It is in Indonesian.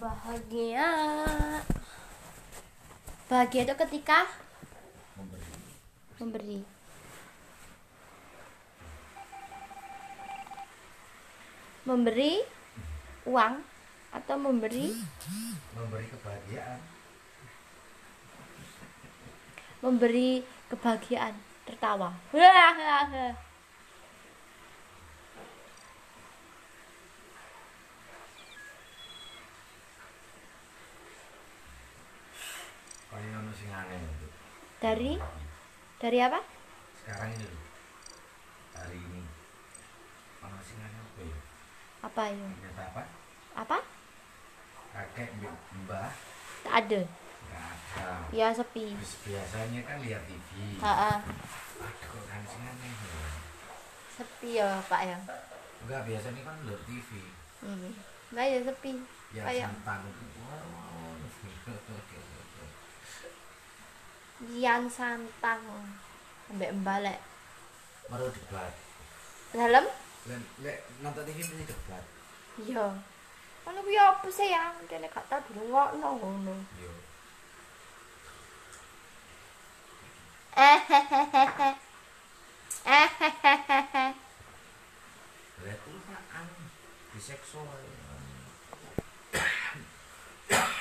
bahagia bahagia itu ketika memberi memberi memberi uang atau memberi memberi kebahagiaan memberi kebahagiaan tertawa kaya ono sing aneh itu dari dari apa sekarang ini loh hari ini ono sing aneh apa apa ya ya ternyata apa apa kakek mbak mbah tak ada nggak ada ya sepi Terus biasanya kan lihat TV ha -ha. aduh kok kan sing aneh ya sepi ya pak ya enggak biasanya kan lihat TV hmm. Nah, ya sepi ya Kayak- sentang itu wow, wow. yang santang ambek mbalek baru debat dalam lek lek nonton TV mesti debat iya Ono kuwi apa sih ya? Kene gak tau dirungokno ngono. yo Ehehehe. Ehehehe. lek itu kan biseksual